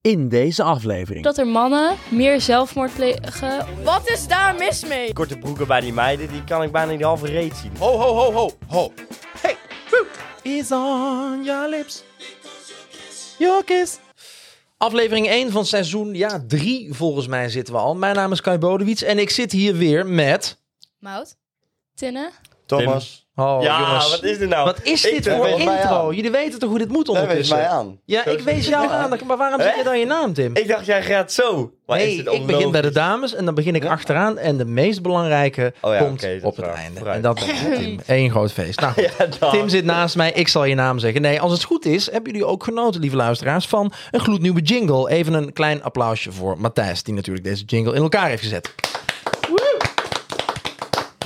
in deze aflevering. Dat er mannen meer zelfmoord plegen. Wat is daar mis mee? Korte broeken bij die meiden, die kan ik bijna niet halve reet zien. Ho, ho, ho, ho, ho. Hey, woe. Is on your lips. Your kiss. Aflevering 1 van seizoen ja, 3 volgens mij zitten we al. Mijn naam is Kai Bodewits en ik zit hier weer met... Mout. Tinnen. Thomas. Oh ja, jongens, wat is dit nou? wat is Ik dit ben- voor wees mij intro? aan. Jullie weten toch hoe dit moet Jij wees ondertussen? mij aan. Ja, Zo ik is wees het. jou aan, maar waarom zeg je Hè? dan je naam, Tim? Ik dacht, jij gaat zo. Maar is Nee, dit ik begin bij de dames en dan begin ik achteraan. En de meest belangrijke Oh ja, komt oké, dat is op het waar. einde. Vooruit. En dat is Tim. Eén groot feest. Nou, Ja, dag. Tim zit naast mij. Ik zal je naam zeggen. Nee, als het goed is, hebben jullie ook genoten, lieve luisteraars, van een gloednieuwe jingle. Even een klein applausje voor Matthijs, die natuurlijk deze jingle in elkaar heeft gezet.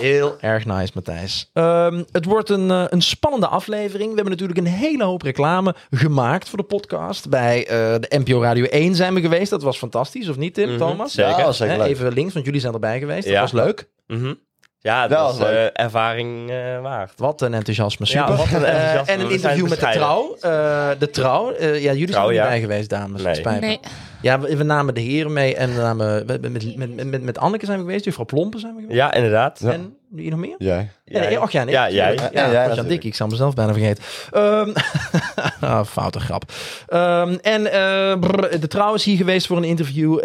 Heel erg nice, Matthijs. Ehm, het wordt een, eh, een spannende aflevering. We hebben natuurlijk een hele hoop reclame gemaakt voor de podcast. Bij eh, de NPO Radio 1 zijn we geweest. Dat was fantastisch, of niet, Tim, Mhm, Thomas? zeker. Ja, was zeker Hè, leuk. Even links, want jullie zijn erbij geweest. Ja. Dat was leuk. Mhm. Ja, dat Dat was was eh, leuk. ervaring eh, waard. Wat een enthousiasme. Super. Ja, wat een enthousiasme. Eh, en een We zijn interview met de bescheiden. trouw. Eh, de trouw. eh, ja, jullie zijn Trouw, er niet ja. bij geweest, dames. Nee. Het spijt me. Nee. Ja, we, we namen de heren mee. En we namen, we- we- met, met, met, met Anneke zijn we geweest. Juffrouw Plompen zijn we geweest. Ja, inderdaad. En wie nog meer? Jij. Ja, nee, och eh, ja, nee, Ja, natuurlijk. jij. Ja, Ja, jij ja, natuurlijk. Dik, ik zal mezelf bijna vergeten. Ehm ah, foute grap. Ehm, en eh, brr, de trouw is hier geweest voor een interview. Eh,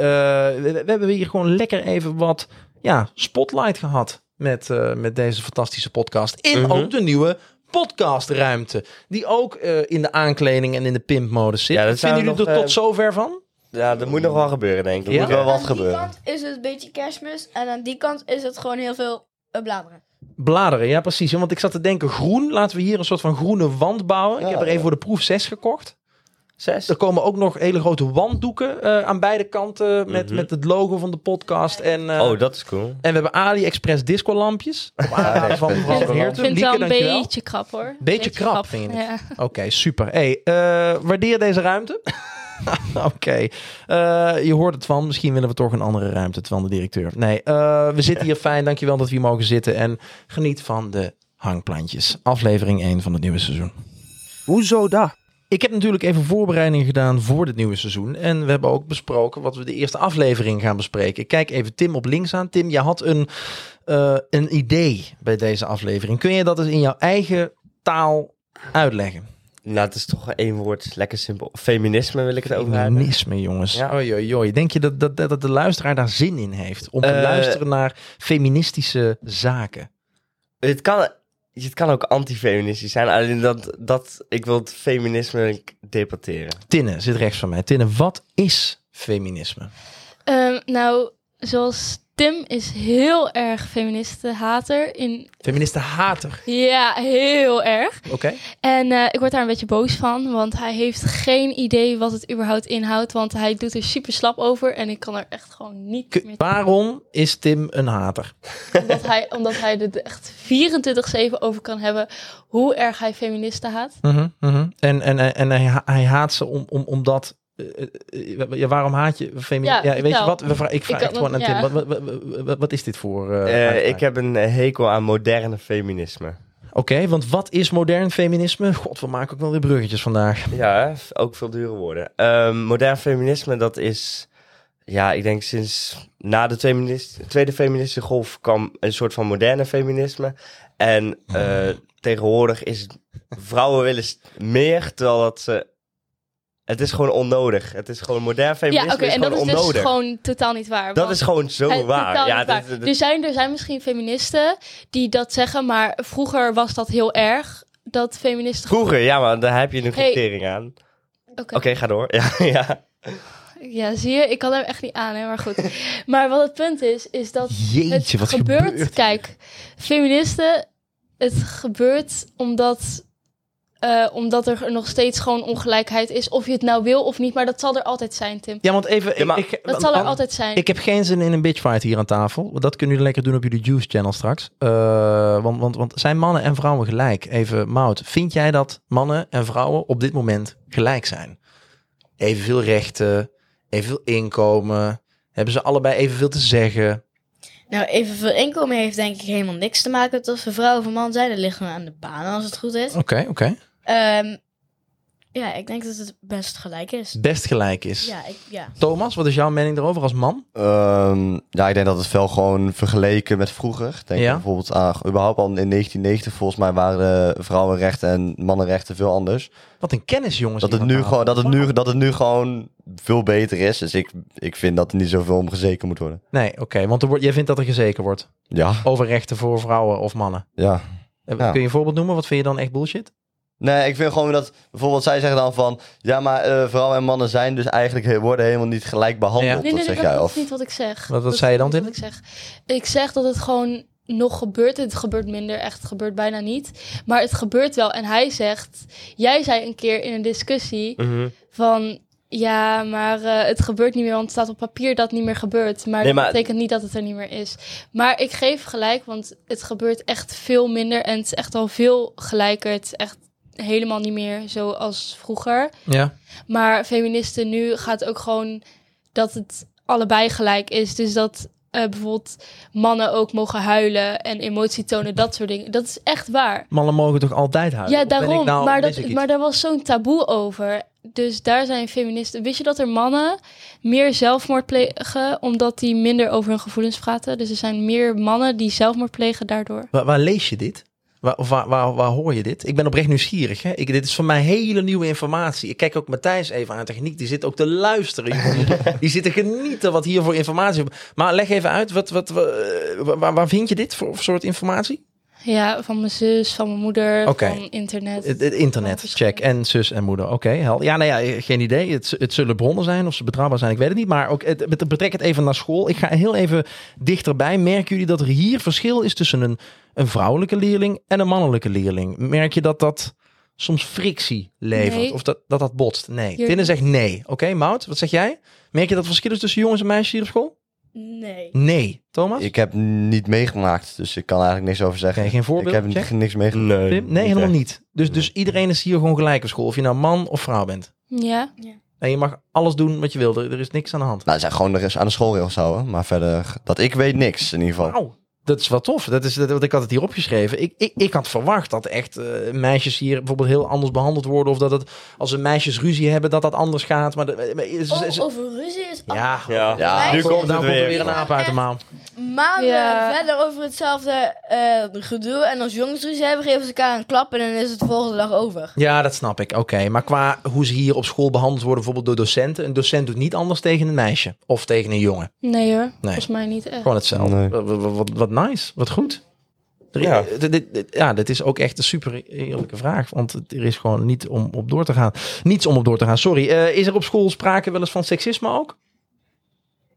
we, we hebben hier gewoon lekker even wat ja, spotlight gehad met, eh, met deze fantastische podcast. In Mhm. ook de nieuwe podcastruimte. Die ook eh, in de aankleding en in de pimpmodus zit. Ja, Vinden dat zijn we jullie er nog, tot eh, zover van? Ja, dat moet nog wel gebeuren, denk ik. Ja? Moet wel aan wat die gebeuren. kant is het een beetje kerstmis en aan die kant is het gewoon heel veel eh, bladeren. Bladeren, ja precies. Ja, Want ik zat te denken, groen. Laten we hier een soort van groene wand bouwen. ik Ja, heb er even ja. voor de proef 6 gekocht. Zes. Er komen ook nog hele grote wanddoeken eh, aan beide kanten met, Mhm. met het logo van de podcast. En, eh, Oh, dat is cool. en we hebben AliExpress discolampjes. Op aanraden nee, van ik mevrouw vind- van Ik Heerten. vind het wel Lieke, een dankjewel. beetje krap hoor. Beetje krap, vind je het? Ja. Oké, super. Hey, eh, waardeer deze ruimte. Oké, Eh, je hoort het van. Misschien willen we toch een andere ruimte van de directeur. Nee, eh, we zitten hier fijn. Dankjewel dat we hier mogen zitten. En geniet van de hangplantjes. Aflevering 1 van het nieuwe seizoen. Hoezo dat? Ik heb natuurlijk even voorbereidingen gedaan voor dit nieuwe seizoen. En we hebben ook besproken wat we de eerste aflevering gaan bespreken. Ik kijk even Tim op links aan. Tim, jij had een, eh, een idee bij deze aflevering. Kun je dat eens in jouw eigen taal uitleggen? Nou, het is toch één woord. Lekker simpel. Feminisme wil ik het over hebben. Feminisme, jongens. Ja. Oei, oei, oei. Denk je dat, dat, dat de luisteraar daar zin in heeft om te Eh. luisteren naar feministische zaken? Het kan, het kan ook antifeministisch zijn. Alleen dat, dat ik wil het feminisme debatteren. Tinne zit rechts van mij. Tinne, wat is feminisme? Ehm, nou, zoals Tim is heel erg feministenhater. In, Feministen hater. ja, heel erg. Oké. En eh, ik word daar een beetje boos van, want hij heeft geen idee wat het überhaupt inhoudt. Want hij doet er super slap over en ik kan er echt gewoon niet Kun- meer Waarom is Tim een hater? Omdat hij, omdat hij er echt 24-7 over kan hebben hoe erg hij feministen haat. Mhm, mhm. En, en, en, en hij, ha- hij haat ze om, om, omdat. eh, eh, ja, waarom haat je Ja, feministen? Ja, weet je vertel. wat? We vra- ik vraag kan- het gewoon aan ja. Tim. Wat, wat, wat- wat, wat is dit voor. eh, Eh, uitspraak? ik heb een eh, hekel aan moderne feminisme. Oké, want wat is modern feminisme? God, we maken ook wel weer bruggetjes vandaag. Ja, hè? F- ook veel dure woorden. Ehm, modern feminisme, dat is... Ja, ik denk sinds na de feminist, Tweede Feministische Golf kwam een soort van moderne feminisme. En eh, tegenwoordig is het- vrouwen willen s- meer, terwijl dat ze... Het is gewoon onnodig. Het is gewoon modern Ja, feminisme oké, is en dat gewoon is dus onnodig. gewoon totaal niet waar. Dat want is gewoon zo hij- waar. totaal Ja, niet dat, waar. Dus- dat- Er, zijn, er zijn misschien feministen die dat zeggen, maar vroeger was dat heel erg. Dat feministen. Vroeger, ja, maar daar heb je een Hey. groepering aan. Oké, Oké, ga door. Ja, ja. ja, zie je, ik kan hem echt niet aan, hè, maar goed. maar wat het punt is, is dat Jeetje, het wat gebeurt, gebeurt. hier? Kijk, feministen, het gebeurt omdat, eh, omdat er nog steeds gewoon ongelijkheid is. Of je het nou wil of niet, maar dat zal er altijd zijn, Tim. Ja, want even. Ja, maar- ik, Dat zal er want- altijd zijn. Ik heb geen zin in een bitchfight hier aan tafel. Dat kunnen jullie lekker doen op jullie Juice Channel straks. Eh, want, want, want zijn mannen en vrouwen gelijk? Even, Mout, vind jij dat mannen en vrouwen op dit moment gelijk zijn? Evenveel rechten, evenveel inkomen. Hebben ze allebei evenveel te zeggen? Nou, evenveel inkomen heeft denk ik helemaal niks te maken met of ze vrouw of een man zijn. Dat ligt gewoon aan de banen als het goed is. Oké, oké. Ehm, Ja, ik denk dat het best gelijk is. best gelijk is. Ja, ik, ja. Thomas, wat is jouw mening daarover als man? Ehm, ja, ik denk dat het wel gewoon vergeleken met vroeger. Denk Ja. bijvoorbeeld aan, überhaupt al in 1990 volgens mij waren de vrouwenrechten en mannenrechten veel anders. Wat een kennis, jongens. Dat hier het, nu vandaag. gewoon, dat, het nu, dat het nu gewoon veel beter is. Dus ik, ik vind dat er niet zoveel om gezeken moet worden. Nee, oké, want er wordt, jij vindt dat er gezeken wordt Ja, over rechten voor vrouwen of mannen. ja. Eh, Ja. Kun je een voorbeeld noemen? Wat vind je dan echt bullshit? Nee, ik vind gewoon dat bijvoorbeeld zij zeggen dan van ja, maar eh, vrouwen en mannen zijn dus eigenlijk he- worden helemaal niet gelijk behandeld. Ja. Dat Nee, nee, zeg nee, dat, jij dat is of niet wat ik zeg. Wat- wat Dat zei je is dan, niet wat ik zeg. Ik zeg dat het gewoon nog gebeurt. Het gebeurt minder, echt. Het gebeurt bijna niet. Maar het gebeurt wel. En hij zegt... Jij zei een keer in een discussie Mhm. van... Ja, maar eh, het gebeurt niet meer, want het staat op papier dat het niet meer gebeurt. Maar Nee, maar- dat betekent niet dat het er niet meer is. Maar ik geef gelijk, want het gebeurt echt veel minder. En het is echt al veel gelijker. Het is echt helemaal niet meer zoals vroeger. Ja. Maar feministen nu gaat ook gewoon dat het allebei gelijk is. Dus dat eh, bijvoorbeeld mannen ook mogen huilen en emotie tonen, dat soort dingen. Dat is echt waar. Mannen mogen toch altijd huilen? Ja, Of ben ik daarom. nou- maar, mis ik dat, iets? maar daar was zo'n taboe over. Dus daar zijn feministen. Wist je dat er mannen meer zelfmoord plegen omdat die minder over hun gevoelens praten? Dus er zijn meer mannen die zelfmoord plegen daardoor. Waar, waar lees je dit? Waar, of waar, waar, waar hoor je dit? Ik ben oprecht nieuwsgierig. Hè? Ik, dit is voor mij hele nieuwe informatie. Ik kijk ook Matthijs even aan techniek. Die zit ook te luisteren. jongen. Die zit te genieten wat hier voor informatie. Maar leg even uit, wat, wat, wa- eh, waar, waar vind je dit voor, voor soort informatie? Ja, van mijn zus, van mijn moeder, Oké. van internet. Het, het Eh, internet, Van check. En zus en moeder. Oké, hel. Ja, nou ja, geen idee. Het, het zullen bronnen zijn of ze betrouwbaar zijn. Ik weet het niet. Maar ook, het, bet- betrek het even naar school. Ik ga heel even dichterbij. Merken jullie dat er hier verschil is tussen een, een vrouwelijke leerling en een mannelijke leerling? Merk je dat dat soms frictie levert? Nee. Of dat, dat dat botst? Nee. Hier Tinne niet. zegt nee. Oké, Maud, wat zeg jij? Merk je dat er verschil is tussen jongens en meisjes hier op school? Nee. Mm. Nee. Thomas? Ik heb niet meegemaakt, dus ik kan eigenlijk niks over zeggen. Oké, geen ik voorbeeld? heb Check. niks meegemaakt. Nee, Pim? Nee, helemaal eh, echt. niet. Dus, dus iedereen is hier gewoon gelijk op school. Of je nou man of vrouw bent. Ja. En je mag alles doen wat je wil. Er, er is niks aan de hand. Nou, ze zijn gewoon de rest aan de schoolregels houden, maar verder dat ik weet niks in ieder geval. Wauw. Nou, Dat is wel tof. Dat is, dat, want ik had het hier opgeschreven. Ik, ik, ik had verwacht dat echt eh, meisjes hier bijvoorbeeld heel anders behandeld worden. Of dat het als ze meisjes ruzie hebben, dat dat anders gaat. Maar, de- maar is- is- Oh, is- over ruzie is al ja, Ja. Ja, nu Daar komt het er weer, weer. een aap uit de maal. maanden Ja. verder over hetzelfde eh, gedoe. En als jongens ruzie hebben, geven ze elkaar een klap en dan is het de volgende dag over. Ja, dat snap ik. Oké. Maar qua hoe ze hier op school behandeld worden, bijvoorbeeld door docenten. Een docent doet niet anders tegen een meisje of tegen een jongen. Nee hoor, volgens mij niet echt. Gewoon hetzelfde. Nee. Wat, wat- wat, wat nice. Wat goed. Er- Ja. dit- dit- dit- ja, dit is ook echt een super eerlijke vraag. Want het- er is gewoon niet om op door te gaan. Niets om op door te gaan, sorry. Eh, is er op school sprake wel eens van seksisme ook?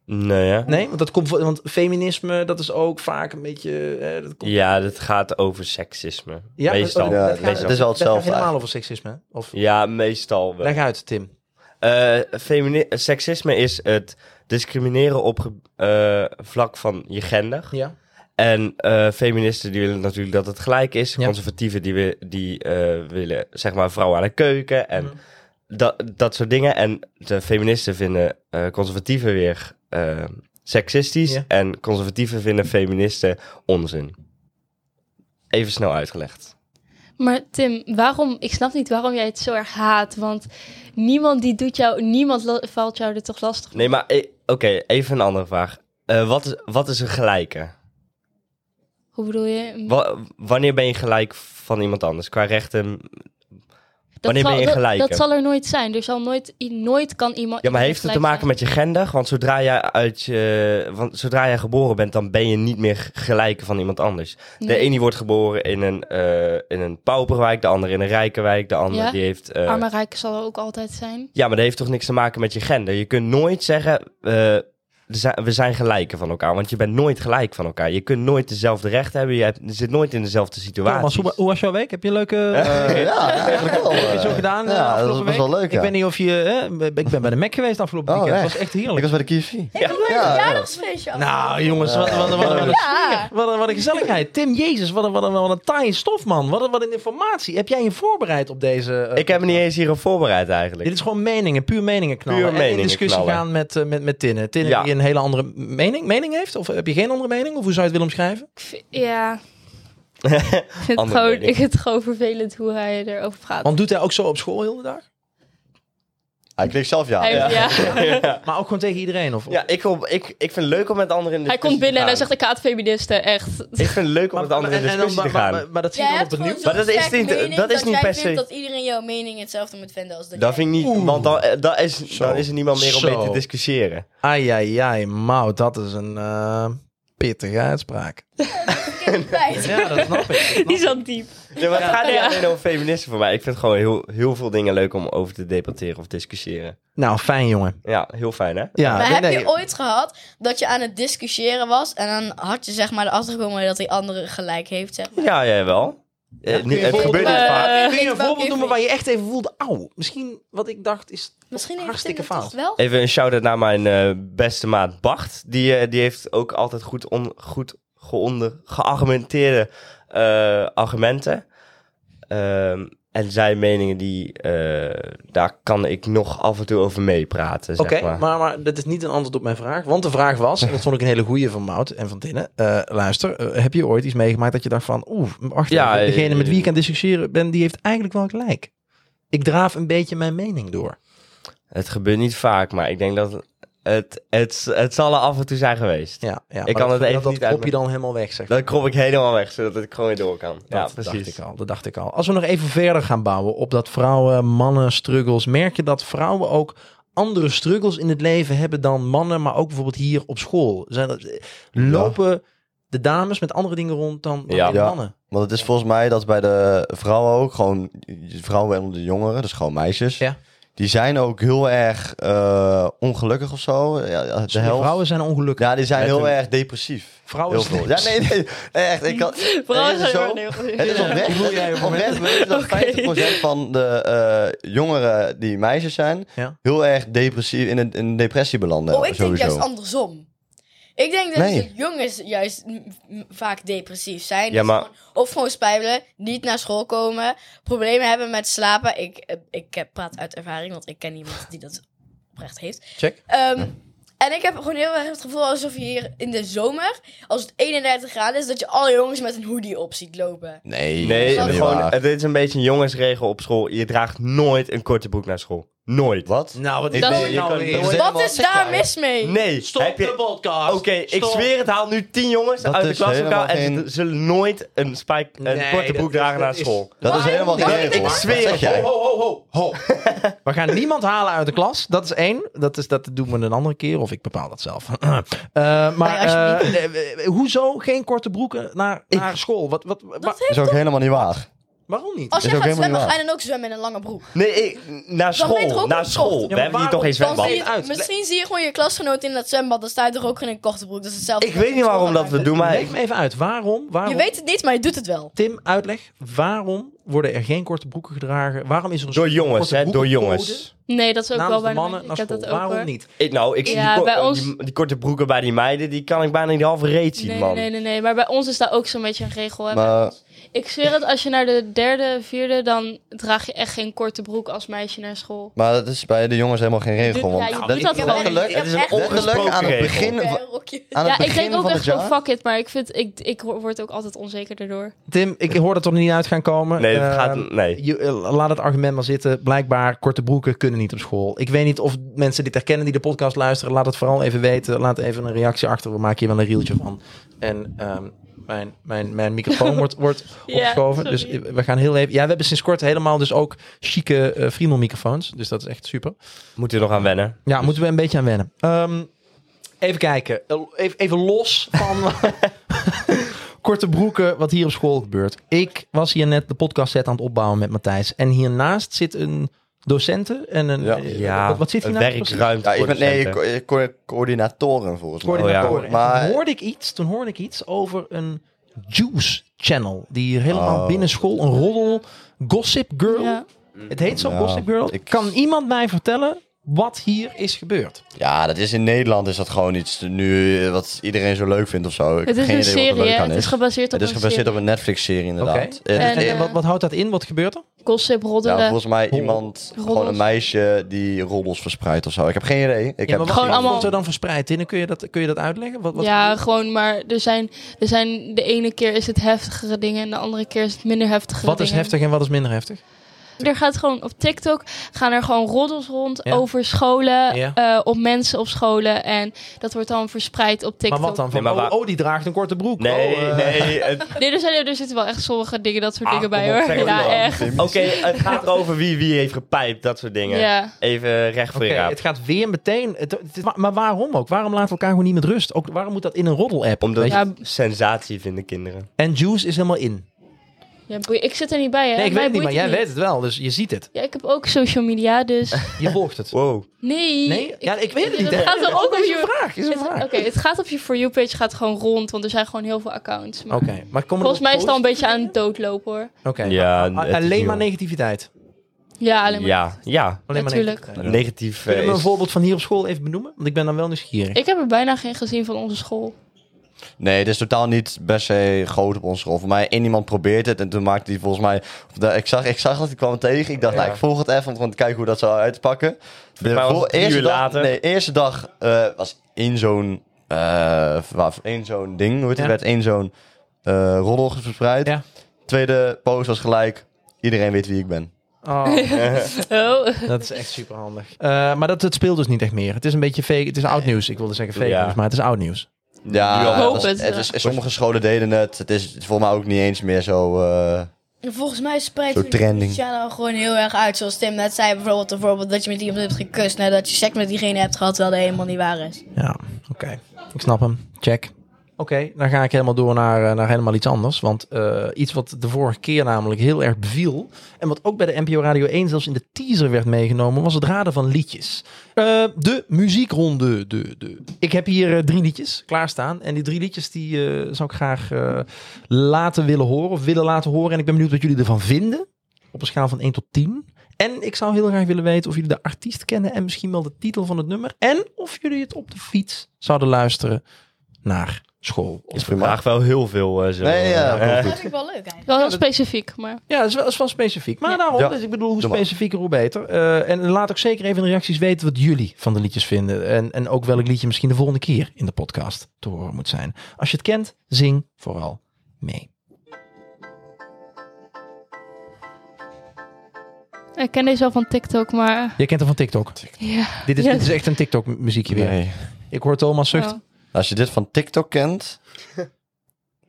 Nee, hè? Nee, want dat komt voor- want feminisme, dat is ook vaak een beetje. eh, dat komt, Ja, dat gaat over seksisme. Ja, meestal. dat- dat- Ja, dat gaat- meestal. Het is wel dat gaat hetzelfde helemaal eigenlijk. over seksisme. hè? Of, Ja, meestal wel. Leg uit, Tim. Eh, femini- eh, seksisme is het discrimineren op ge- eh, vlak van je gender. Ja. En eh, feministen die willen natuurlijk dat het gelijk is. Ja. Conservatieven die, wi- die eh, willen zeg maar vrouwen aan de keuken Mhm. en dat, dat soort dingen. En de feministen vinden eh, conservatieven weer eh, seksistisch. Ja. En conservatieven vinden feministen onzin. Even snel uitgelegd. Maar Tim, waarom, ik snap niet waarom jij het zo erg haat. Want niemand die doet jou, niemand la- valt jou er toch lastig mee. Nee, maar eh, oké, even een andere vraag. Eh, wat, is, wat is een gelijke? Hoe bedoel je? Wa- wanneer ben je gelijk van iemand anders? Qua rechten. wanneer ben je zal- gelijk, Dat, hè? dat zal er nooit zijn. Er zal nooit, i- nooit kan iemand... Ja, maar iemand heeft het te gelijk maken zijn. met je gender? Want zodra jij, uit je, want zodra jij geboren bent, dan ben je niet meer gelijk van iemand anders. De Nee. ene die wordt geboren in een, eh, in een pauperwijk, de andere in een rijke wijk, de ander Ja. die heeft... eh, Arme rijken zal er ook altijd zijn. ja, maar dat heeft toch niks te maken met je gender? Je kunt nooit zeggen, eh, er zijn- we zijn gelijken van elkaar. Want je bent nooit gelijk van elkaar. Je kunt nooit dezelfde rechten hebben. Je hebt- je zit nooit in dezelfde Thomas, situatie. hoe, hoe was jouw week? Heb je een leuke... Eh, ja, eigenlijk wel. Heb je zo gedaan? eh, Ja, dat was afgelopen best wel week? leuk. Ik ja. weet niet of je... eh, ik ben bij de Mac geweest afgelopen Oh, weekend. Het echt? was echt Ik heerlijk. was bij de KFC. Ik heb Ja, een ja. verjaardagsfeestje. Nou, jongens, wat, wat, wat, wat, wat een Ja. sfeer. Wat, een- wat een gezelligheid. Tim, jezus, wat een, wat een, wat een taaie stof, man. Wat een, wat een informatie. Heb jij je voorbereid op deze... eh, Ik heb me niet eens hierop voorbereid eigenlijk. Dit is gewoon meningen, puur meningen knallen. Puur En in meningen discussie knallen. gaan met, eh, met, met Tinne. Tinne Ja. die een hele andere mening, mening heeft? Of heb je geen andere mening? Of hoe zou je het willen omschrijven? Ik vind- Ja, ik vind het Andere gewoon, mening. Oh, ik vind het gewoon vervelend hoe hij erover praat. Want doet hij ook zo op school heel de dag? Hij klikt zelf ja. Hij, ja. Maar ook gewoon tegen iedereen? Of, Ja, ik, hoop- ik, ik vind het leuk om met anderen in hij discussie komt binnen en hij te zegt ik haat feministen, echt. gaan. Ik vind het leuk om met anderen in en- en dan- discussie te maar- gaan. maar- maar- maar dat zie je Jij dan hebt op het gewoon nieuws. Maar dat zo'n is sterk niet- mening dat is niet jij per vindt se- Dat iedereen jouw mening hetzelfde moet vinden als dat Dat jij. vind ik niet, want dan, eh, dan, is, dan is er niemand meer om mee te Zo. discussiëren. Ai, ai, ai, Mout, dat is een eh, pittige uitspraak. Ik ben het kwijt. Ja, dat snap ik. Die zat diep. Nee, maar het gaat niet Ja. alleen over feminisme voor mij. Ik vind gewoon heel, heel veel dingen leuk om over te debatteren of discussiëren. Nou, fijn, jongen. Ja, heel fijn hè? Ja, Maar Ah, nee, heb nee. je ooit gehad dat je aan het discussiëren was en dan had je zeg maar erachter gekomen dat die andere gelijk heeft? Zeg. Ja, jij wel. Eh, Ja, kun je niet- het voorbeeld- gebeurt niet Eh, vaak. Kun je een Welke voorbeeld noemen invloed? waar je echt even voelde, auw, misschien wat ik dacht is Misschien heeft hartstikke Tim het fout. toch wel. Even een shout-out naar mijn eh, beste maat Bart. Die, eh, die heeft ook altijd goed, on, goed geonder, geargumenteerde eh, argumenten. Ehm, en zijn meningen, die, eh, daar kan ik nog af en toe over meepraten. Zeg Oké, maar. maar, maar dat is niet een antwoord op mijn vraag. Want de vraag was, en dat vond ik een hele goeie van Mout en van Tinne. eh, luister, eh, heb je ooit iets meegemaakt dat je dacht van... Oeh, wacht Ja, even, degene eh, met wie ik aan het discussiëren ben, die heeft eigenlijk wel gelijk. Ik draaf een beetje mijn mening door. Het gebeurt niet vaak, maar ik denk dat het, het, het zal er af en toe zijn geweest. Ja, ja, kan maar dat- het even dat, dat niet uit kop je dan helemaal weg, zeg. Dan krop ik helemaal weg, zodat ik gewoon weer door kan. Dat Dacht ik al, dat dacht ik al. Als we nog even verder gaan bouwen op dat vrouwen, mannen, struggles. Merk je dat vrouwen ook andere struggles in het leven hebben dan mannen, maar ook bijvoorbeeld hier op school? Zijn dat, eh, lopen de dames met andere dingen rond dan, dan Ja. de Ja. mannen? Want het is volgens mij dat bij de vrouwen ook, gewoon vrouwen en de jongeren, dus gewoon meisjes. Ja. Die zijn ook heel erg eh, ongelukkig of zo. Ja, Ja, de helft. Dus Vrouwen zijn ongelukkig. Ja, die zijn Met heel hun- erg depressief. Vrouwen Heel zijn veel. Ja, nee, nee. Echt, ik kan... Vooral het is zo- Het is oprecht. Hoe jij op Oprecht weet je dat Oké. 50% van de eh, jongeren die meisjes zijn, Ja. heel erg depressief in een, in een depressie belanden. Oh, ik denk Nou, sowieso. juist andersom. Ik denk dat Nee. de jongens juist m- m- vaak depressief zijn. Ja, Dus maar- gewoon- of gewoon spijbelen, niet naar school komen, problemen hebben met slapen. Ik, eh, ik heb- praat uit ervaring, want ik ken niemand die dat oprecht heeft. Check. Ehm, En ik heb gewoon heel erg het gevoel alsof je hier in de zomer, als het 31 graden is, dat je alle jongens met een hoodie op ziet lopen. Nee, Nee, dat is niet gewoon, waar. het is een beetje een jongensregel op school. Je draagt nooit een korte broek naar school. Nooit. Wat? Nou, wat Ik Dat ben- is- je kan- weer? Wat Wat is daar mis mee? Nee. heb je- podcast. Oké, ik zweer het, haal nu tien jongens Dat uit de is klas helemaal elkaar en geen- ze zullen nooit een, spike, een Nee, korte dat broek is- dragen dat naar is- school. Dat is Waarom helemaal denk geen ik regel. dat Wat zweer zeg het. jij? We gaan niemand halen uit de klas. Dat is één. Dat, is, dat doen we een andere keer. Of ik bepaal dat zelf. Eh, maar alsjeblieft. eh, eh, eh, hoezo geen korte broeken naar, naar school? Wat, wat, wa- heeft- Dat is ook helemaal niet waar. waarom niet? Als Is jij ook gaat helemaal zwemmen, niet ga waar. je dan ook zwemmen in een lange broek. Nee, ik- naar ben je toch school. ook Naar een school. kort? We hebben hier toch geen Ja, maar Dan waarom- zwembad. Maakt zie niet je, uit. misschien zie je gewoon je klasgenoot in dat zwembad. Dan sta je toch ook in een korte broek. Dat is hetzelfde. Ik weet niet waarom dat we doen, maar... Leg me even uit. Waarom? waarom Je weet het niet, maar je doet het wel. Tim, uitleg. Waarom worden er geen korte broeken gedragen? Waarom is er een Door soort jongens, korte hè, door broekencode jongens. Nee, dat is ook wel Namens de bijna... mannen ik naar heb school. dat ook, hoor. Waarom niet? Ik, nou, ik Ja, zie die, bij ko- ons- die, die korte broeken bij die meiden, die kan ik bijna niet halve reet zien, Nee, man. nee, nee, nee. Maar bij ons is daar ook zo'n beetje een regel. Hè? Maar Ik zweer het, als je naar de derde, vierde... dan draag je echt geen korte broek als meisje naar school. Maar dat is bij de jongens helemaal geen regel. Ja, Want je doet dat- dat ik- gewoon. letterlijk- Het is een echt letterlijk aan het ongesproken begin, Oké, van- rokje. aan Ja, het ik begin denk ook van echt het van jaar. fuck it. Maar ik, vind, ik, ik wor- word ook altijd onzeker daardoor. Tim, ik hoor dat er niet uit gaan komen. Nee, dat Ehm, gaat... Nee. Je, eh, laat het argument maar zitten. Blijkbaar, korte broeken kunnen niet op school. Ik weet niet of mensen dit herkennen die de podcast luisteren. Laat het vooral even weten. Laat even een reactie achter. We maken hier wel een reeltje van. En ehm, mijn, mijn, mijn microfoon wordt, wordt Ja, opgeschoven. dus sorry. we gaan heel even... Ja, we hebben sinds kort helemaal dus ook chique eh Friemel microfoons. Dus dat is echt super. Moeten we nog aan wennen. Dus- Ja, moeten we een beetje aan wennen. Ehm, even kijken. Eh, Even, even los van korte broeken, wat hier op school gebeurt. Ik was hier net de podcast set aan het opbouwen met Matthijs. En hiernaast zit een docenten en een... Ja. eh, Wat, wat zit hier een nou precies? werkruimte Ja, ik voor ben, nee, docenten. co- co- coördinatoren volgens mij. Coördinatoren. Oh ja. En Maar- toen, hoorde ik iets, toen hoorde ik iets over een juice channel. Die hier helemaal Oh. binnen school een roddel gossip girl. Ja. Het heet zo Ja, gossip girl. ik- Kan iemand mij vertellen wat hier is gebeurd? Ja, dat is in Nederland is dat gewoon iets nu eh, wat iedereen zo leuk vindt of zo. Ik Het heb is geen een idee wat er serie, leuk hè. aan Het is gebaseerd op Het is een gebaseerd op serie. een Netflix-serie inderdaad. Eh, En, En, eh, en wat, wat houdt dat in? Wat gebeurt er? Gossip, roddelen. ja, volgens mij Roddels. iemand, gewoon een meisje die roddels verspreidt of zo. Ik heb geen Ja, idee. Ik heb maar Gewoon wat allemaal- wordt er dan verspreid in? Kun je dat, kun je dat uitleggen? Wat, wat Ja, gewoon, maar er zijn, er zijn... De ene keer is het heftigere dingen... en de andere keer is het minder heftige wat is dingen. heftig en wat is minder heftig? er gaat gewoon op TikTok gaan er gewoon roddels rond Ja. over scholen, Ja. eh, op mensen op scholen. En dat wordt dan verspreid op TikTok. Maar wat dan? Van, Nee, maar oh, waar- oh, die draagt een korte broek. Nee, Oh, eh, nee. het- Nee, er, zijn, er zitten wel echt sommige dingen, dat soort Ah, dingen bij kom op, hoor. zeg maar Ja, dan. echt. Oké, het gaat erover wie wie heeft gepijpt, dat soort dingen. Ja. Even recht voor Oké, je raap. het gaat weer meteen. het- het- maar, maar waarom ook? Waarom laten we elkaar gewoon niet met rust? Ook, waarom moet dat in een roddel-app? Eh, Omdat Weet je- Ja. sensatie vinden kinderen. En Juice is helemaal in. Ja, boe- ik zit er niet bij, hè? Nee, ik weet Mij het niet, boeit maar jij niet. weet het wel. Dus je ziet het. Ja, ik heb ook social media, dus... Je volgt het. Wow. Nee. Nee? Ja, ik weet het niet. Het hè. gaat er ook om is je... een vraag. Is een Het- vraag. Oké, het gaat op je For You-page gaat gewoon rond, want er zijn gewoon heel veel accounts. Maar Oké, Oh, maar komen volgens er mij is het al een posts? beetje aan het doodlopen, hoor. Oké. Ja, A- het is alleen maar nieuw. negativiteit. Ja, alleen maar. Ja, ja. Alleen maar Natuurlijk. negativiteit. Negatief. eh, Kun je me een is- voorbeeld van hier op school even benoemen? Want ik ben dan wel nieuwsgierig. Ik heb er bijna geen gezien van onze school. Nee, het is totaal niet per se groot op onze rol. Voor mij, één iemand probeert het en toen maakte hij volgens mij... de- Ik zag, ik zag dat, ik kwam het tegen. Ik dacht, Ja. nou, ik volg het even, want kijken hoe dat zou uitpakken. De mij was vol- het drie uur dag, later. Nee, eerste dag eh, was in zo'n... eh, wa- in zo'n ding, hoe heet het? Ja. werd één zo'n eh roddel verspreid. Ja. Tweede post was gelijk, iedereen weet wie ik ben. Oh, Oh. dat is echt super handig. maar dat, het speelt dus niet echt meer. Het is een beetje fake. Het is oud nieuws. Ik wilde zeggen fake Ja. nieuws, maar het is oud nieuws. Ja, Ja, dat hoop is- het, het ja. is, sommige scholen deden het. Het is volgens mij ook niet eens meer zo... eh, En Volgens mij spreidt Zo'n het trending. sociale gewoon heel erg uit. Zoals Tim net zei, bijvoorbeeld, bijvoorbeeld dat je met iemand hebt gekust... nadat je seks met diegene hebt gehad, terwijl dat helemaal niet waar is. Ja, oké. Ik snap hem. Check. Oké, dan ga ik helemaal door naar, eh, naar helemaal iets anders. Want eh, iets wat de vorige keer namelijk heel erg beviel... en wat ook bij de NPO Radio 1 zelfs in de teaser werd meegenomen... was het raden van liedjes. Eh, de muziekronde. De, de. Ik heb hier eh, drie liedjes klaarstaan. En die drie liedjes die, eh, zou ik graag eh, laten willen horen... of willen laten horen. En ik ben benieuwd wat jullie ervan vinden. Op een schaal van 1 tot 10. En ik zou heel graag willen weten of jullie de artiest kennen en misschien wel de titel van het nummer. En of jullie het op de fiets zouden luisteren naar school. is prima. Vraag wel heel veel. eh, zo. Nee, ja, Eh, komt Dat vind ik wel leuk eigenlijk. Wel heel specifiek, maar... Ja, dat is wel, dat is wel specifiek. Maar Ja. daarom, Ja. dus ik bedoel, hoe Doe maar. specifieker, hoe beter. Eh, en laat ook zeker even in de reacties weten wat jullie van de liedjes vinden. En, en ook welk liedje misschien de volgende keer in de podcast te horen moet zijn. Als je het kent, zing vooral mee. Ik ken deze wel van TikTok, maar... Jij kent hem van TikTok. Ja. Dit is, Ja. dit is echt een TikTok muziekje weer. Nee. Ik hoor Thomas zuchten. Oh. Als je dit van TikTok kent,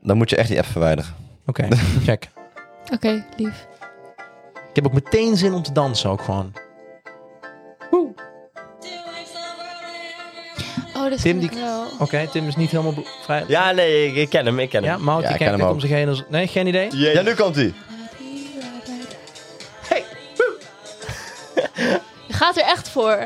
dan moet je echt die app verwijderen. Oké, check. Oké, lief. Ik heb ook meteen zin om te dansen ook gewoon. Woe. Oh, dat Tim, Tim, die- wel. Oké, Tim is niet helemaal blo- vrij. Ja, nee, ik, ik ken hem, ik ken hem. ja Mout, Ja, die ik kijkt ken hem net ook. om zich heen. Als... Nee, geen idee. Ja, nu komt hij. Je gaat er echt voor.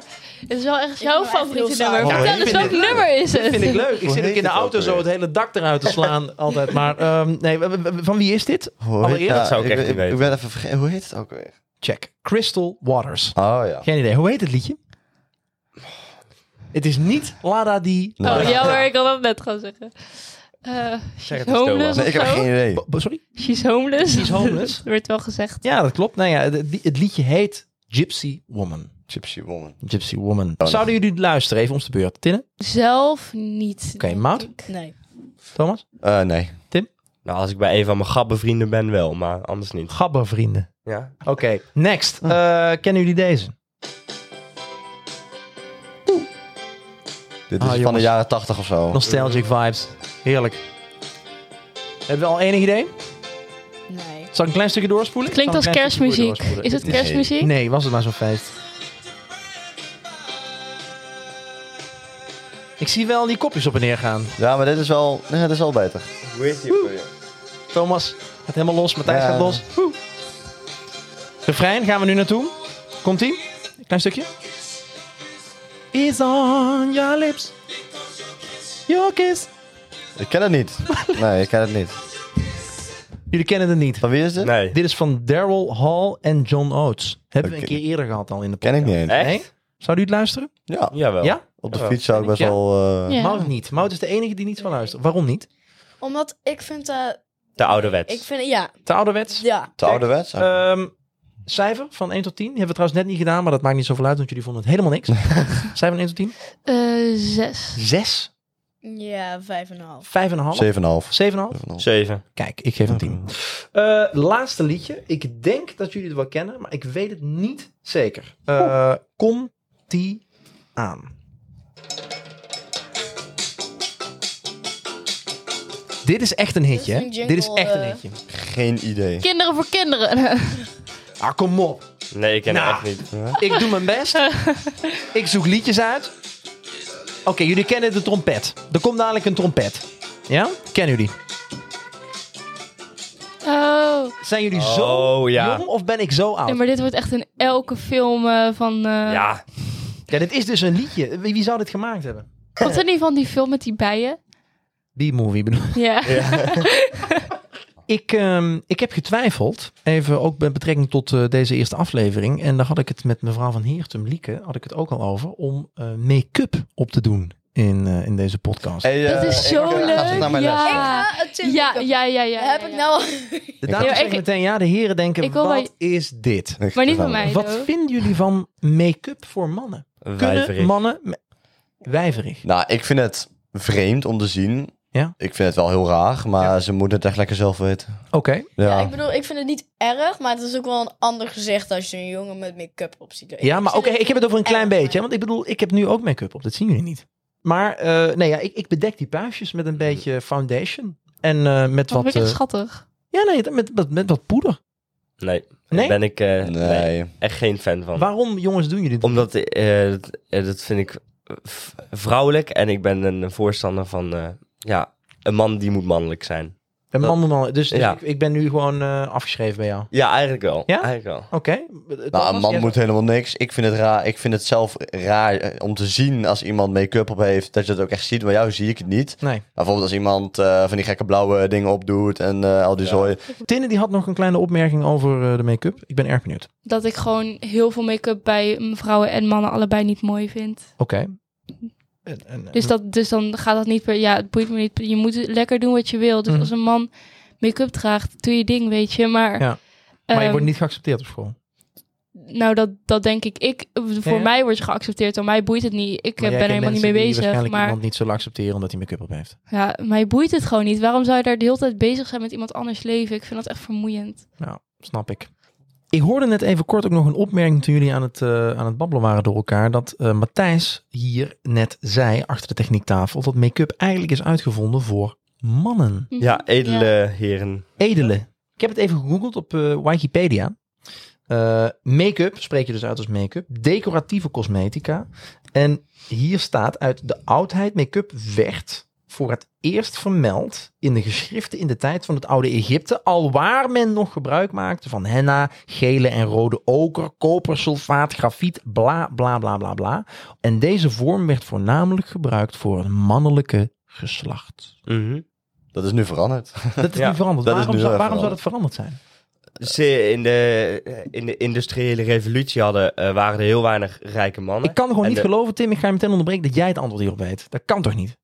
Het is wel echt jouw wil echt favoriete heel saai. nummer. Oh, Vertel ik eens, vind welk dit- nummer is het? Vind ik leuk. Ik Hoe zit ook heet in de het ook auto zo weer? het hele dak eruit te slaan altijd. Maar ehm, nee, w- w- w- van wie is dit? Allereerst- Dat zou ik echt ben- niet weten. Ik ben even vergeten. Hoe heet het ook weer? Check. Crystal Waters. Oh ja. Geen idee. Hoe heet het liedje? Het is niet Lada die... Oh, Nee. ja hoor, ik had dat net gaan zeggen. Eh, Zeg she's het eens, homeless Nee, ik heb of zo? geen idee. B- b- Sorry? She's homeless. She's homeless. dat werd wel gezegd. Ja, dat klopt. Nou ja, het, het liedje heet Gypsy Woman. Gypsy Woman. Gypsy Woman. Zouden jullie luisteren? Even om de beurt. Tinne? Zelf niet. Oké, denk Maud? ik. Nee. Thomas? Eh, nee. Nou, als ik bij een van mijn gabbenvrienden ben wel, maar anders niet. Gabbervrienden. Ja. Oké, next. Eh, kennen jullie deze? Dit Ah, is van de jongens. jaren 80 of zo. Nostalgic vibes. Heerlijk. Hebben we al enig idee? Nee. Zal ik een klein stukje doorspoelen? Het klinkt Zal ik als een klein stukje kerstmuziek. doorspoelen? Is het Nee. kerstmuziek? Nee, was het maar zo'n feest. Ik zie wel die kopjes op en neer gaan. Ja, maar dit is wel, ja, dit is wel beter. Hoe heet die? Thomas gaat helemaal los, Matthijs Ja. gaat los. Woe. Refrein, gaan we nu naartoe. Komt-ie? Een klein stukje. Is on your lips. Your kiss. Ik ken het niet. Nee, ik ken het niet. Jullie kennen het niet. Van wie is dit? Nee. Dit is van Daryl Hall en John Oates. Hebben we Oké. een keer eerder gehad al in de Ken podcast. ik niet eens. Echt? Oh. Nee? Zou u het luisteren? Ja. Jawel. Ja? Op de Ja. fiets zou ik best Ja. wel... eh, Ja. Mout niet. Mout is de enige die niet van luistert. Waarom niet? Omdat ik vind dat... De ouderwets. ik vind... Ja. Te ouderwets. Ja. Te ouderwets. Oh. Eh, Ehm, cijfer van 1 tot 10. Die hebben we trouwens net niet gedaan, maar dat maakt niet zoveel uit, want jullie vonden het helemaal niks. cijfer van 1 tot 10. Eh, zes. 6. Ja, vijf en een half. Vijf en een half? 7,5. Zeven en een half? 7,5. Zeven. Kijk, ik geef een tien. Eh, laatste liedje. Ik denk dat jullie het wel kennen, maar ik weet het niet zeker. Eh, Kom die aan. Dit is echt een hitje. Dit hè? is een Dit is jingle, echt een eh. hitje. Geen idee. Kinderen voor kinderen. Ah, kom op. Nee, ik ken Nou. het echt niet. Ik doe mijn best. Ik zoek liedjes uit. Oké, jullie kennen de trompet. Er komt dadelijk een trompet. Ja? Kennen jullie? Oh. Zijn jullie zo Oh, ja. jong of ben ik zo oud? Nee, maar dit wordt echt in elke film eh, van... eh, Ja, Ja, dit is dus een liedje. Wie, wie zou dit gemaakt hebben? Wat in ieder geval die film met die bijen? B-movie bedoel Ja. ik. ehm, ik heb getwijfeld, even ook met betrekking tot eh, deze eerste aflevering. En daar had ik het met mevrouw van Heertum, Lieke, had ik het ook al over. Om eh, make-up op te doen in, eh, in deze podcast. Hey, Dat eh, is ik- zo ik ga leuk. terug naar mijn les. ja. Ah, het is- Ja, ja, ja, ja. heb ja, ik ja. nou al... de dames Ja, zeggen ik- meteen, ja, de heren denken, Ik wil wat wel- is dit? Ik- Maar niet nou, van mij. Wat Edo. vinden jullie van make-up voor mannen? Kunnen wijverig. mannen... me- Wijverig. Nou, ik vind het vreemd om te zien. Ja. Ik vind het wel heel raar, maar ze moeten het echt lekker zelf weten. Oké. Ja, Ja. ik bedoel, ik vind het niet erg, maar het is ook wel een ander gezicht als je een jongen met make-up op ziet. Ja, maar oké, ik heb het over een klein erg, beetje. hè, maar- Want ik bedoel, ik heb nu ook make-up op. Dat zien jullie niet. Maar eh, nee, ja, ik, ik bedek die puistjes met een beetje foundation. En eh, met Wat wat... vind Oh, ik echt eh, schattig. ja, nee, met, met, met wat poeder. Nee. Nee? Ben ik eh, nee, nee. echt geen fan van. Waarom, jongens, doen jullie dit? Omdat eh, dat, eh, dat vind ik eh, v- vrouwelijk en ik ben een voorstander van eh, ja, een man die moet mannelijk zijn. Een man moet man- Dus, dus Ja. ik, ik ben nu gewoon eh, afgeschreven bij jou. Ja, eigenlijk wel. Ja? Eigenlijk wel. Oké. Nou, Thomas, een man jij- moet helemaal niks. Ik vind het raar. Ik vind het zelf raar eh, om te zien als iemand make-up op heeft, dat je dat ook echt ziet. Maar jou zie ik het niet. Nee. Maar bijvoorbeeld als iemand eh, van die gekke blauwe dingen opdoet en eh, al die Ja. zooi. Tinne die had nog een kleine opmerking over eh, de make-up. Ik ben erg benieuwd. Dat ik gewoon heel veel make-up bij mm, vrouwen en mannen allebei niet mooi vind. Oké. En- en- Dus, dat, dus dan gaat dat niet per... Ja, het boeit me niet. Je moet lekker doen wat je wil. Dus Mhm. als een man make-up draagt, doe je ding, weet je. Maar, Ja. maar je ehm, wordt niet geaccepteerd op school. Nou, dat, dat denk ik. ik voor Ja, ja. mij wordt ze geaccepteerd. Door mij boeit het niet. Ik Maar jij eh, ben er kent helemaal niet mee mensen die bezig. waarschijnlijk Maar iemand niet zullen accepteren omdat hij make-up op heeft. ja, mij boeit het gewoon niet. Waarom zou je daar de hele tijd bezig zijn met iemand anders leven? Ik vind dat echt vermoeiend. Snap ik. Ik hoorde net even kort ook nog een opmerking toen jullie aan het, eh, aan het babbelen waren door elkaar. Dat eh, Matthijs hier net zei, achter de techniektafel, dat make-up eigenlijk is uitgevonden voor mannen. Mhm. Ja, edele heren. Edele. Ik heb het even gegoogeld op eh, Wikipedia. Eh, make-up spreek je dus uit als make-up. Decoratieve cosmetica. En hier staat uit de oudheid: make-up werd voor het eerst vermeld in de geschriften in de tijd van het oude Egypte. Alwaar men nog gebruik maakte van henna, gele en rode oker, koper, sulfaat, grafiet, bla bla bla bla bla. En deze vorm werd voornamelijk gebruikt voor het mannelijke geslacht. Mhm. Dat is nu veranderd. Dat is Ja, niet veranderd. dat is waarom, nu zou, wel waarom zou dat veranderd veranderd. zijn? Ze in de, in de industriële revolutie hadden, eh, waren er heel weinig rijke mannen. Ik kan gewoon En niet de- geloven, Tim. Ik ga je meteen onderbreken dat jij het antwoord hierop weet. Dat kan toch niet?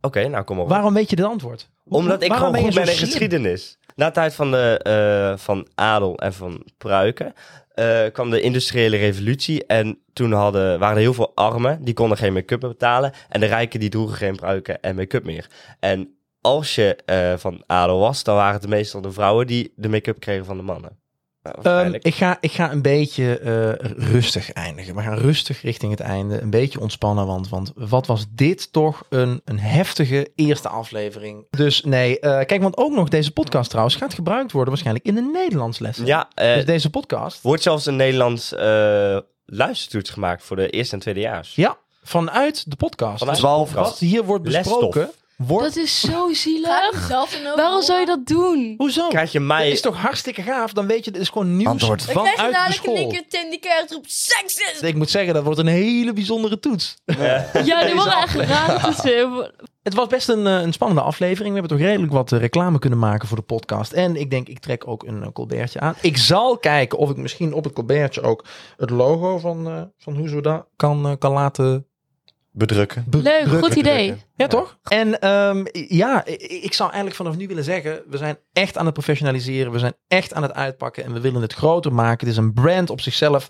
Oké, nou kom op. Waarom weet je dit antwoord? Hoe- Omdat ik waarom gewoon goed je ben zo in slim? geschiedenis. Na de tijd van, de, eh, van adel en van pruiken eh, kwam de industriële revolutie. En toen hadden, waren er heel veel armen, die konden geen make-up meer betalen. En de rijken die droegen geen pruiken en make-up meer. En als je eh, van adel was, dan waren het meestal de vrouwen die de make-up kregen van de mannen. Nou, Ehm, waarschijnlijk. ik, ga, ik ga een beetje eh, rustig eindigen. We gaan rustig richting het einde. Een beetje ontspannen, want, want wat was dit toch een, een heftige eerste aflevering. Dus nee, eh, kijk, want ook nog deze podcast trouwens gaat gebruikt worden waarschijnlijk in de Nederlands lessen. ja, eh, Dus deze podcast wordt zelfs een Nederlands eh luistertoets gemaakt voor de eerste en tweedejaars. Ja. vanuit de podcast. Vanuit- 12 Wat hier wordt Lesstof. besproken wordt... Dat is zo Ga ik nou zielig. zelf in over- Waarom zou je dat doen? Hoezo? Krijg je mij... Dat is toch hartstikke gaaf? Dan weet je, dit is gewoon nieuws Antwoord. Dan krijg je vanuit de dadelijk in één school. keer Tim die keihard roept seksist. Ik moet zeggen, dat wordt een hele bijzondere toets. Ja, die worden echt raar tussen. Het was best een, eh, een spannende aflevering. We hebben toch redelijk wat eh, reclame kunnen maken voor de podcast. En ik denk, ik trek ook een eh, colbertje aan. Ik zal kijken of ik misschien op het colbertje ook het logo van, eh van Hoezo kan, eh, kan laten bedrukken. bedrukken. Leuk, goed idee. Ja, toch? En ehm, ja, ik- ik zou eigenlijk vanaf nu willen zeggen, we zijn echt aan het professionaliseren, we zijn echt aan het uitpakken en we willen het groter maken. Het is een brand op zichzelf.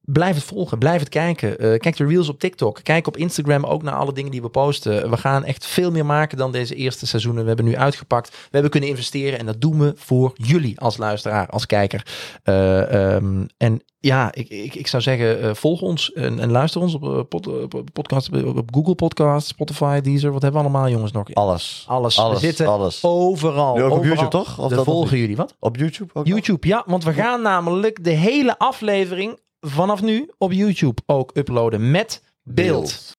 Blijf het volgen, blijf het kijken. Eh, kijk de reels op TikTok, kijk op Instagram ook naar alle dingen die we posten. We gaan echt veel meer maken dan deze eerste seizoenen. We hebben nu uitgepakt, we hebben kunnen investeren en dat doen we voor jullie als luisteraar, als kijker. Eh, ehm, en ja, ik, ik, ik zou zeggen, eh, volg ons en, en luister ons op, eh, pod- op- op podcast, op, op Google Podcast, Spotify, Deezer. Wat hebben we allemaal, jongens, nog? Alles. Alles. Alles. we zitten alles. overal. Nu ook op overal. YouTube, toch? Of De dat nog volgen niet? jullie, wat? Op YouTube ook? YouTube, ja. Want we gaan namelijk de hele aflevering vanaf nu op YouTube ook uploaden met beeld.